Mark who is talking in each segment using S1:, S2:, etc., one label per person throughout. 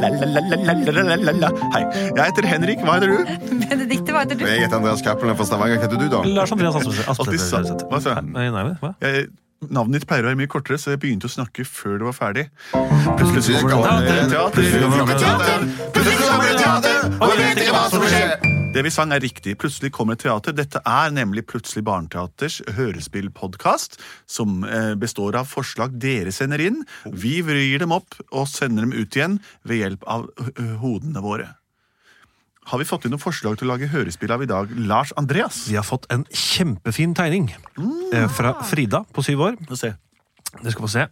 S1: La-la-la-la-la-la-la-la. Hei, jeg heter Henrik. Hva heter du?
S2: Benedikte, hva heter du?
S3: Jeg heter Andreas Cappelen fra Stavanger. Hva heter du, da?
S4: Lars Andreas Aspleseth.
S1: Alltid sant.
S4: Aspleseth.
S1: Hva sa jeg?
S4: Nei, nei, nei, hva?
S1: Jeg, navnet ditt pleier å være mye kortere, så jeg begynte å snakke før det var ferdig. Plutselig så
S3: Plutselig
S1: kommer
S3: kommer
S1: det
S3: det
S1: teater.
S3: plutselig kommer det teater, plutselig kommer det teater, og vi vet ikke hva som vil skje.
S1: Det vi sang er riktig. Plutselig kommer et teater. Dette er nemlig Plutselig barneteaters hørespillpodkast, som eh, består av forslag dere sender inn. Vi vrir dem opp og sender dem ut igjen ved hjelp av ø, ø, hodene våre. Har vi fått inn noen forslag til å lage hørespill av i dag? Lars Andreas?
S4: Vi har fått en kjempefin tegning eh, fra Frida på syv år.
S1: Få se.
S4: Dere skal få se.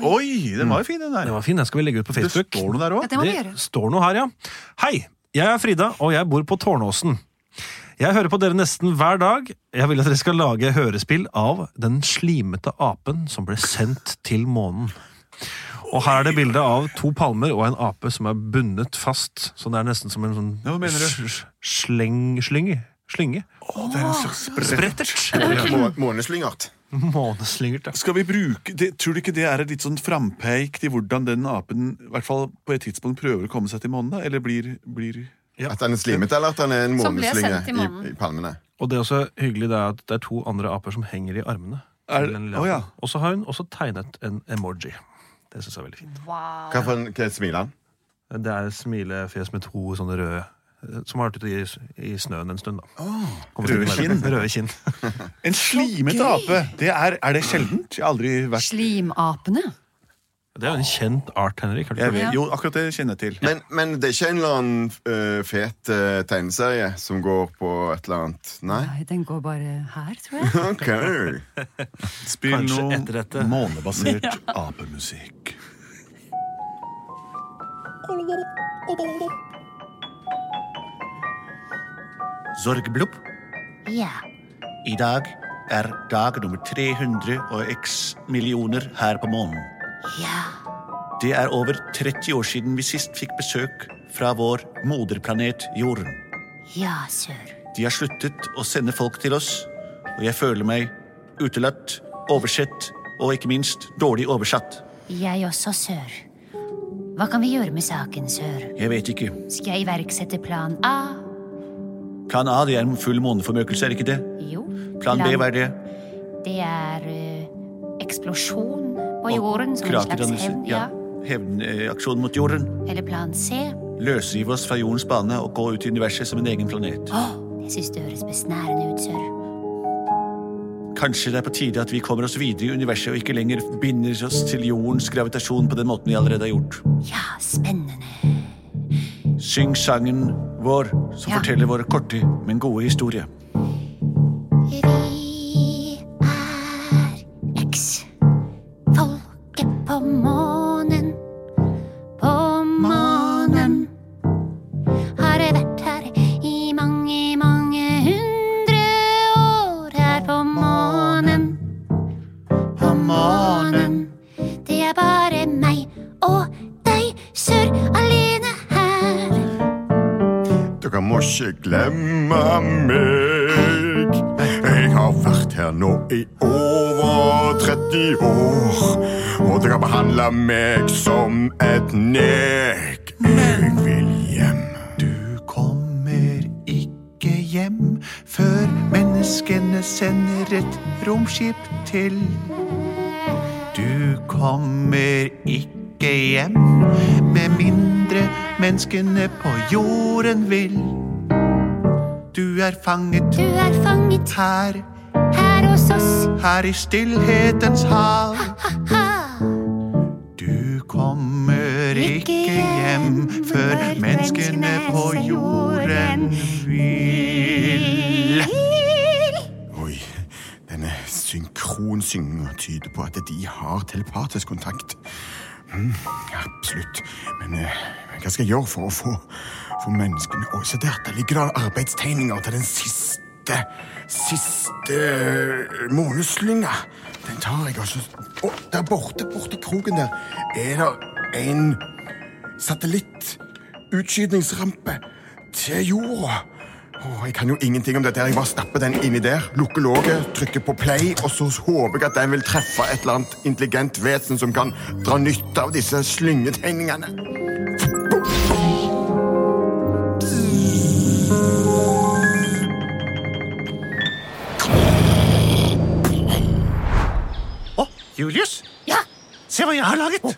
S1: Oi, den var jo fin, den der.
S4: Den var fin. Den skal vi legge ut på
S1: Det
S4: Facebook.
S1: står noe der
S2: Ja,
S1: òg.
S2: det må vi gjøre.
S4: står noe her, ja. Hei, jeg er Frida, og jeg bor på Tårnåsen. Jeg hører på dere nesten hver dag. Jeg vil at dere skal lage hørespill av den slimete apen som ble sendt til månen. Og her er det bilde av to palmer og en ape som er bundet fast. Så det er nesten som en sånn
S1: Ja, hva mener du?
S4: sl- sleng... Slynge? Slynge?
S1: Det er en slags
S4: Sprettert!
S3: Må- Måneslyngert.
S4: Måneslyngert, ja.
S1: Skal vi bruke, det, Tror du ikke det er et litt sånn frampeik til hvordan den apen i hvert fall på et tidspunkt prøver å komme seg til månen? da? Eller blir, blir
S3: At han er slimete, eller at han er en
S2: Som ble
S3: måneslynge
S2: sendt i
S3: i,
S2: månen.
S3: i palmene.
S4: Og det er også hyggelig det er at det er to andre aper som henger i armene.
S1: Er-
S4: til den lille
S1: Å, ja.
S4: apen. Og så har hun også tegnet en emoji. Det syns jeg er veldig fint.
S2: Wow.
S3: Hva for en- hva smiler han?
S4: Det er smilefjes med to sånne røde eh, som har vært ute i, i snøen en stund. da. Kommer til å
S1: røde
S4: være-
S1: kinn.
S4: Røde kinn.
S1: En slimete ape! Det er, er det sjeldent? Jeg har aldri vært
S2: Slimapene.
S4: Det er jo en kjent art, Henrik. Har du
S1: jeg
S4: hørt?
S1: vet,
S2: Ja.
S1: Jo, akkurat det kjenner jeg til.
S3: Men, men det er ikke en eller annen øh, fet øh, tegneserie som går på et eller annet Nei?
S2: Nei, den går bare her, tror jeg.
S3: Ok.
S1: Spill
S4: kanskje
S1: noe
S4: etter dette.
S1: månebasert apemusikk. Zorgblubb.
S2: Ja.
S1: I dag er dag nummer 300 og x millioner her på månen.
S2: Ja.
S1: Det er over 30 år siden vi sist fikk besøk fra vår moderplanet Jorden.
S2: Ja, sør.
S1: De har sluttet å sende folk til oss, og jeg føler meg utelatt, oversett og ikke minst dårlig oversatt.
S2: Jeg også, sør. Hva kan vi gjøre med saken, sør?
S1: Jeg vet ikke.
S2: Skal jeg iverksette plan A?
S1: Plan A det er en full måneformøkelse, er det ikke det?
S2: Jo.
S1: Plan B, hva er det?
S2: Det er eh, eksplosjon på jorden som en slags
S1: Kraterdannelse.
S2: hevn.
S1: Ja.
S2: Ja.
S1: Hevnaksjon mot jorden.
S2: Eller plan C.
S1: Løsrive oss fra jordens bane og gå ut i universet som en egen planet.
S2: Åh, jeg syns det høres besnærende ut, sør.
S1: Kanskje det er på tide at vi kommer oss videre i universet og ikke lenger binder oss til jordens gravitasjon på den måten vi allerede har gjort.
S2: Ja, spennende.
S1: Syng sangen vår, som
S2: Ja.
S1: forteller vår korte, men gode historie.
S2: Vi er X. Folket på månen. På månen. Har vært her i mange, mange hundre år her på månen. På månen. Det er bare meg og deg, sør, alene her.
S3: Dere må ikke glemme meg. Jeg har vært her nå i over 30 år. Og dere behandler meg som et nek. Jeg vil hjem.
S1: Du kommer ikke hjem før menneskene sender et romskip til. Du kommer ikke hjem med mindre menneskene på jorden vil. Du er fanget
S2: Du er fanget
S1: her,
S2: her hos oss.
S1: her i stillhetens hav.
S2: Ha.
S1: Du kommer ikke hjem før menneskene på jorden vil.
S3: Oi, denne synkronsyngingen tyder på at de har telepatisk kontakt. Mm, Absolutt. Men eh, hva skal jeg gjøre for å få, få menneskene Å, se der, der ligger det arbeidstegninger til den siste siste eh, måneslynga. Den tar jeg, altså. Å, der borte, borte i kroken der, er det en satellittutskytingsrampe til jorda. Åh, jeg kan jo ingenting om dette. her. Jeg bare stapper den inni der, lukker låget, trykker på play, og så håper jeg at den vil treffe et eller annet intelligent vesen som kan dra nytte av disse slyngetegningene.
S1: Å, Julius!
S2: Ja!
S1: Se hva jeg har laget!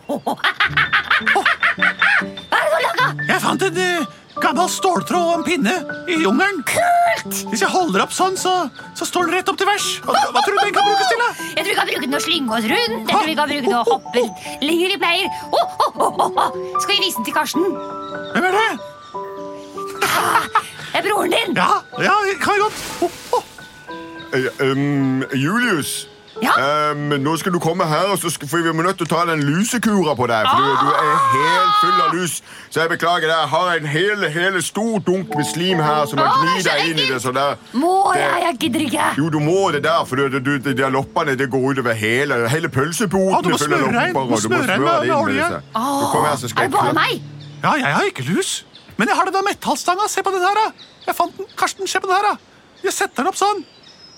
S1: Hva er det du har laga? Jeg fant en eh, gammel ståltråd og en pinne i jungelen. Kult! Hvis jeg holder opp sånn, så, så står den rett opp til vers. Hva, hva tror du den kan brukes til? da?
S2: Jeg tror vi kan bruke den å slynge oss rundt. Jeg tror vi kan bruke den å hoppe lenger i pleier. Oh, oh, oh, oh, oh. Skal vi vise den til Karsten?
S1: Hvem er det?
S2: Det er broren din!
S1: Ja, ja kan jeg godt. Ho, ho.
S3: Eh, Julius?
S2: Ja.
S3: nå skal du komme her, og så for vi må nødt til å ta den lusekura på deg. For du,
S2: Ah!
S3: er helt full av lus. Så jeg beklager Jeg har en hel, stor dunk med slim her som
S2: har Åh,
S3: har
S2: gnidd deg
S3: gnidd deg
S2: så
S3: inn i det.
S2: ekkelt.
S3: Så der.
S2: Må jeg? Jeg gidder ikke.
S3: Jo, du må det der, for du, du, du, de der loppene det går utover hele, hele pølseboten.
S1: Å, Ah, du må smøre inn, du må smøre inn med- med olje.
S3: Du kommer her, så skal
S2: Er
S3: jeg
S2: det bare
S3: klø-
S2: meg?
S1: Ja, jeg har ikke lus. Men jeg har den der metallstanga. Se på den her, da. Jeg fant den. Karsten, se på den her, da. Jeg setter den opp sånn.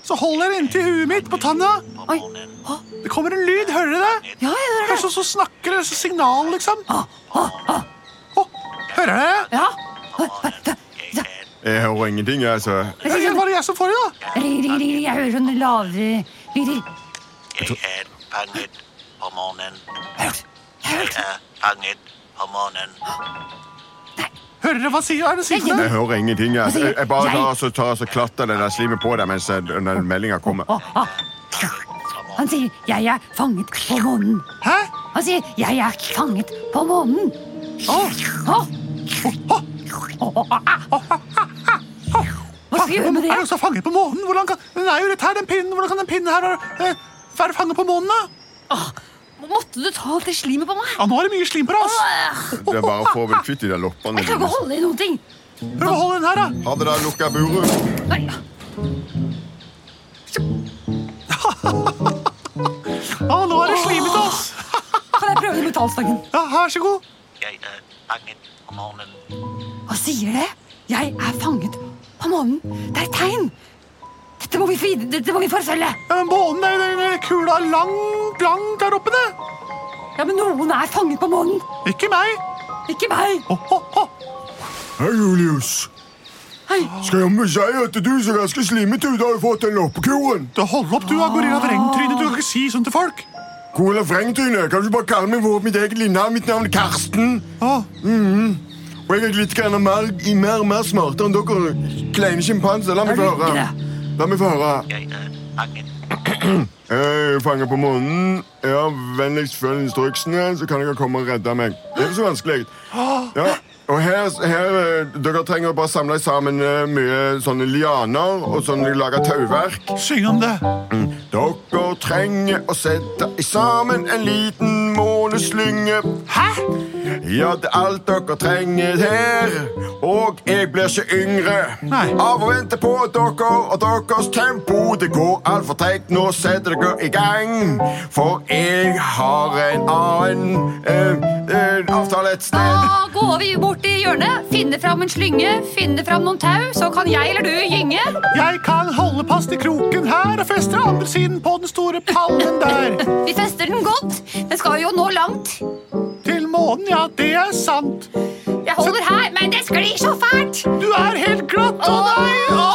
S1: Så holder jeg den inntil huet mitt på tanna.
S2: Oi.
S1: Det kommer en lyd. Hører dere det?
S2: Ja, jeg hører
S1: Det
S2: det.
S1: er sånn som snakker, det er sånn signal, liksom. Å, hører dere?
S2: Ja.
S3: Jeg hører ingenting, jeg, så
S1: Det er bare jeg som får det, da.
S2: Ring, ring, ring. Jeg hører sånne lavere lyder.
S5: Jeg er fanget på månen.
S2: Hørt.
S5: Jeg er fanget på månen.
S1: Hører dere hva sier? Hva er det sier for
S3: jeg
S1: noe?
S3: hører ingenting. Jeg, jeg, jeg bare
S2: Altså, Jeg-
S3: tar så, tar så klatter det der slimet på deg mens jeg- når meldinga kommer.
S2: Ah. Han sier 'jeg er fanget på månen'.
S1: Hæ?
S2: Han sier 'jeg er fanget på månen'. Å. Hva skal vi gjøre med det?
S1: Er det også fanget på månen? Hvordan kan... Den er jo rett her, den pinnen. Hvordan kan den pinnen her være, eh, være fanget på månen, da?
S2: Måtte du ta alt det slimet på meg?
S1: Ja, nå er det mye slim på deg, ass.
S3: Det er bare å få vel kvitt de der loppene
S2: Jeg kan ikke
S3: dine.
S2: holde i noen ting.
S1: Prøv å holde den her, da.
S3: Ha det der lukka buret.
S2: Nei.
S1: Ja, nå er det slimete, ass.
S2: Kan jeg prøve den metallstangen?
S1: Ja, vær så god.
S5: Jeg er fanget på månen.
S2: Hva sier det? Jeg er fanget på månen. Det er et tegn. Dette må vi, fri- dette må vi forfølge.
S1: Ja, men månen er jo den der kula langt, langt der oppe, det.
S2: Ja, men noen er fanget på månen.
S1: Ikke meg.
S2: Ikke meg.
S1: Ho, ho, ho.
S3: Hei, Julius.
S2: Hei.
S3: Skal jeg med si at du ser ganske slimete ut? Har du fått den loppekuren?
S1: Du, hold opp, du, da, gorilla vrengtryne. Du kan ikke si sånn til folk.
S3: Cola Frengtryne, kan du bare kalle meg vår mitt eget navn? Mitt navn er Karsten.
S1: Å,
S3: Og jeg er litt grann mer, mer, mer smartere enn dere kleine sjimpanser. La meg
S2: Er du
S3: få høre.
S2: ikke
S3: La meg få høre.
S5: Jeg er fanget
S3: Jeg fanger på månen. Ja, vennligst følg instruksene, så kan dere komme og redde meg. Det er ikke så vanskelig. Ja. Og her, her eh, Dere trenger bare samle sammen eh, mye sånne lianer og sånne lage tauverk.
S1: syng om det.
S3: Dere trenger å sette i sammen en liten måneslynge.
S1: Hæ?
S3: Ja, det er alt dere trenger her. Og jeg blir ikke yngre
S1: Nei.
S3: av å vente på dere og deres tempo. Det går altfor treigt. Nå setter dere i gang, for jeg har en annen eh, eh, avtale et sted.
S6: Da går vi bort i hjørnet, finner fram en slynge, finner fram noen tau, så kan jeg eller du gynge.
S1: Jeg kan holde fast i kroken her og feste andre siden på den store pallen der.
S6: Vi fester den godt. Den skal jo nå langt.
S1: Til månen, ja, det er sant.
S6: Jeg holder her, men det sklir så fælt.
S1: Du er helt glatt, å nei! Å,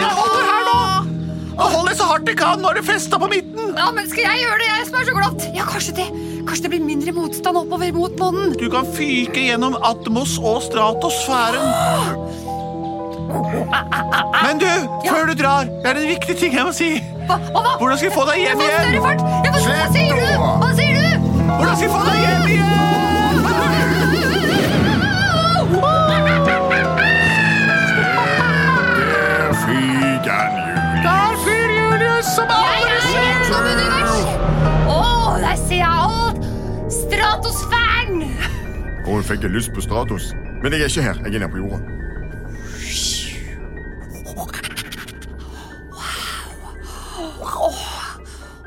S1: jeg holder her nå. Og hold det så hardt jeg kan. Nå er det festa på midten.
S6: Ja, men skal jeg gjøre det, jeg som er så glatt? Ja, kanskje det. Kanskje det blir mindre motstand oppover mot månen.
S1: Du kan fyke gjennom atmos og stratosfæren. Men du, før du drar, det er en viktig ting jeg må si.
S6: Hva, hva, hva?
S1: Hvordan skal vi få deg hjem
S6: Jeg får
S1: igjen?
S6: større fart. Jeg får, hva
S3: Slipp
S6: sier du?
S3: nå.
S6: Hva sier du?
S1: Hvordan skal vi få deg hjem igjen?
S3: Der fyker han, Julie.
S1: Der fyr Julius som
S6: Jeg
S1: aldri
S6: er
S1: ser
S6: gjennom univers. Å, der ser jeg alt. Stratosfære.
S3: og hun fikk lyst på Stratos. Men jeg er ikke her. Jeg er nede på jorda.
S2: Åh,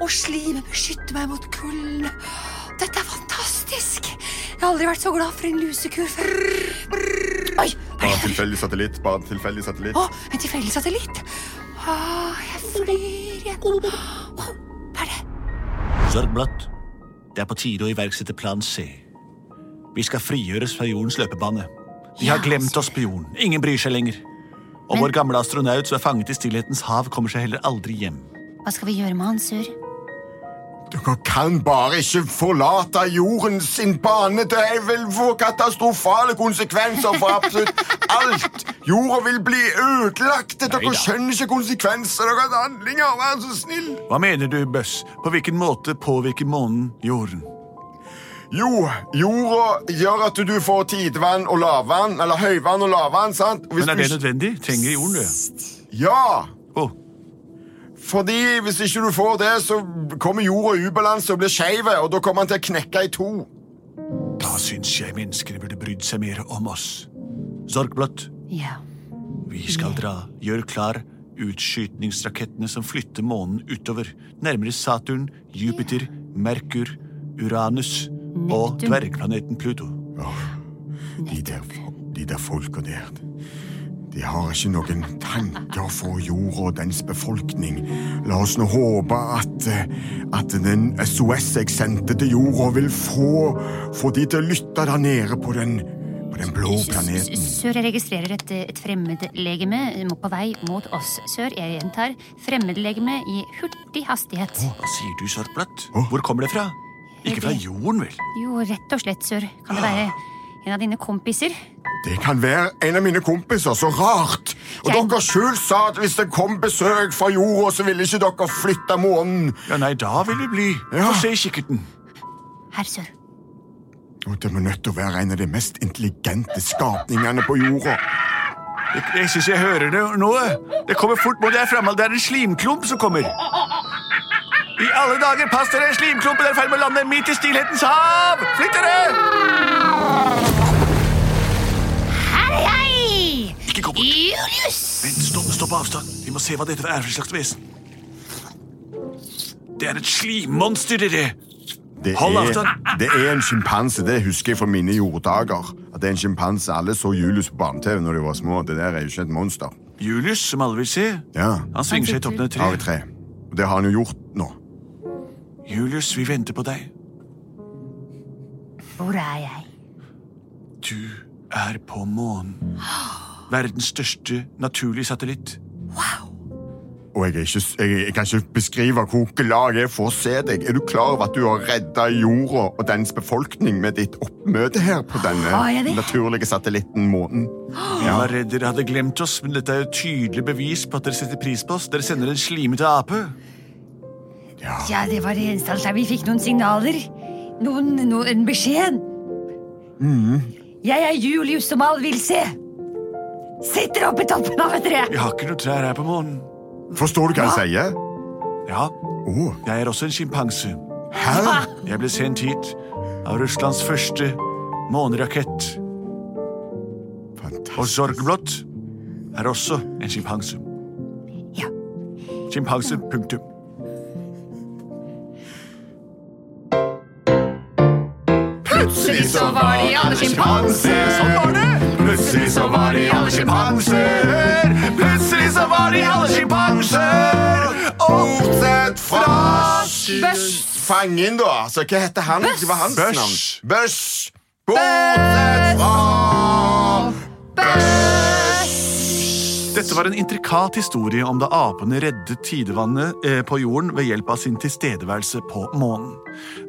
S2: og slimet beskytter meg mot kulden. Dette er fantastisk! Jeg har aldri vært så glad for en lusekur før. Brrr. Oi, hva
S3: Bare en
S2: er det?
S3: tilfeldig satellitt. Bare en tilfeldig satellitt.
S2: Å, en tilfeldig satellitt. Åh, jeg flyr igjen. Åh, hva er det?
S7: Sørg blått. Det er på tide å iverksette plan C. Vi skal frigjøres fra jordens løpebane. De har
S2: Ja,
S7: glemt oss på jorden. Ingen bryr seg lenger. Og vår gamle astronaut som er fanget i stillhetens hav, kommer seg heller aldri hjem.
S6: Hva skal vi gjøre med han, Sur?
S3: Dere kan bare ikke forlate jorden sin bane. Det vil få katastrofale konsekvenser for absolutt alt. Jorda vil bli ødelagt. Dere
S7: Neida.
S3: skjønner ikke konsekvenser av deres handlinger. Vær så snill.
S1: Hva mener du, Bøss? På hvilken måte påvirker månen jorden?
S3: Jo, jorda gjør at du får tidevann og lavvann, eller høyvann og lavvann, sant? Hvis
S1: Men er
S3: du
S1: det
S3: ikke-
S1: nødvendig? Trenger jorden det?
S3: Ja!
S1: Å,
S3: Fordi hvis ikke du får det, så kommer jorda i ubalanse og blir skeiv, og da kommer han til å knekke i to.
S1: da syns jeg menneskene burde brydd seg mer om oss.
S7: Sorgblått,
S6: Ja.
S7: vi skal dra. Gjør klar utskytningsrakettene som flytter månen utover. Nærmere Saturn, Jupiter, Merkur, Uranus og
S6: Neptun.
S7: dvergplaneten Pluto.
S3: De der, de der folka der De har ikke noen tanker for jorda og dens befolkning. La oss nå håpe at, eh, at den SOS jeg sendte til jorda, vil få, få de til å lytte der nede på den, på den blå planeten.
S6: Sør, jeg registrerer et, et fremmedlegeme må- på vei mot oss. Sør, jeg gjentar fremmedlegeme i hurtig hastighet.
S7: Hva sier du, Sorgblått? Hvor kommer det fra? Ikke fra jorden, vel?
S6: Jo, rett og slett, Sør. Kan det være en av dine kompiser?
S3: Det kan være en av mine kompiser. Så rart! Og
S6: Jeg-
S3: dere sjøl sa at hvis det kom besøk fra jorda, så ville ikke dere flytte månen.
S1: Ja, nei, da vil vi bli.
S3: Ja.
S1: Få se i kikkerten.
S6: Herr Sør.
S3: Og det må nødt til å være en av de mest intelligente skapningene på jorda.
S1: Jeg, jeg syns jeg hører det nå. Det kommer fort mot deg framme. Det er en slimklump som kommer. I alle dager, pass dere! Slimklumpen er i ferd med å lande midt i stillhetens hav! Flytt dere!
S6: Her er jeg!
S1: Ikke gå bort.
S6: Julius!
S1: Vent, Stopp, stopp på avstand. Vi må se hva dette er for slags vesen. Det er et slimmonster, dere.
S3: Det
S1: Hold
S3: er,
S1: avstand.
S3: det er en sjimpanse. Det husker jeg fra mine jorddager. At det er en sjimpanse. Alle så Julius på barne-TV når de var små. Det der er jo ikke et monster.
S1: Julius, som alle vil se,
S3: Ja,
S1: han svinger seg i toppen av et
S3: Av et
S1: tre.
S3: tre. Og det har han jo gjort nå.
S1: Julius, vi venter på deg.
S6: Hvor er jeg?
S1: Du er på månen. Verdens største naturlige satellitt.
S3: Og jeg, er ikke, s- jeg, jeg kan ikke beskrive hvor glad jeg er for å se deg. Er du klar over at du har redda jorda og dens befolkning med ditt oppmøte her på
S6: Har jeg
S3: denne
S6: det?
S3: naturlige satellitten månen?
S1: Vi var redd dere hadde glemt oss, men dette er jo tydelig bevis på at dere setter pris på oss. Dere sender en slimete ape.
S6: Ja, det var det eneste alternativet. Vi fikk noen signaler. Noen, noen en beskjed. Jeg er Julius som alle vil se. Sitter oppe i toppen av et tre.
S1: Jeg har ikke noe trær her på månen.
S3: Forstår du hva jeg sier?
S1: Ja,
S3: Å,
S1: jeg er også en sjimpanse.
S3: hæ?
S1: Jeg ble sendt hit av Russlands første månerakett. Og
S3: Fantastisk.
S1: Zorgblot er også en sjimpanse.
S6: Ja.
S1: Sjimpanse, punktum.
S3: Plutselig så var de alle sjimpanser. Sånn var det. Plutselig så var de alle sjimpanser. Plutselig så var de alle sjimpanser. Bortsett fra Bøsj. Fangen, da. Så hva heter han? Hva var hans
S1: Bøsj.
S3: navn? Bøsj. Bortsett fra
S1: Dette var en intrikat historie om da apene reddet tidevannet eh, på jorden ved hjelp av sin tilstedeværelse på månen.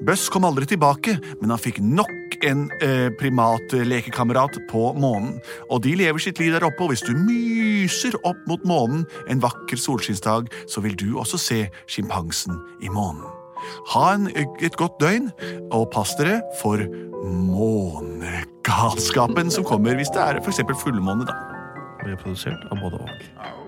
S1: Bøss kom aldri tilbake, men han fikk nok en eh, primatlekekamerat på månen. Og de lever sitt liv der oppe, og hvis du myser opp mot månen en vakker solskinnsdag, så vil du også se sjimpansen i månen. Ha en, et godt døgn, og pass dere for månegalskapen som kommer hvis det er for eksempel fullmåne, da.
S4: Vi er produsert av både og.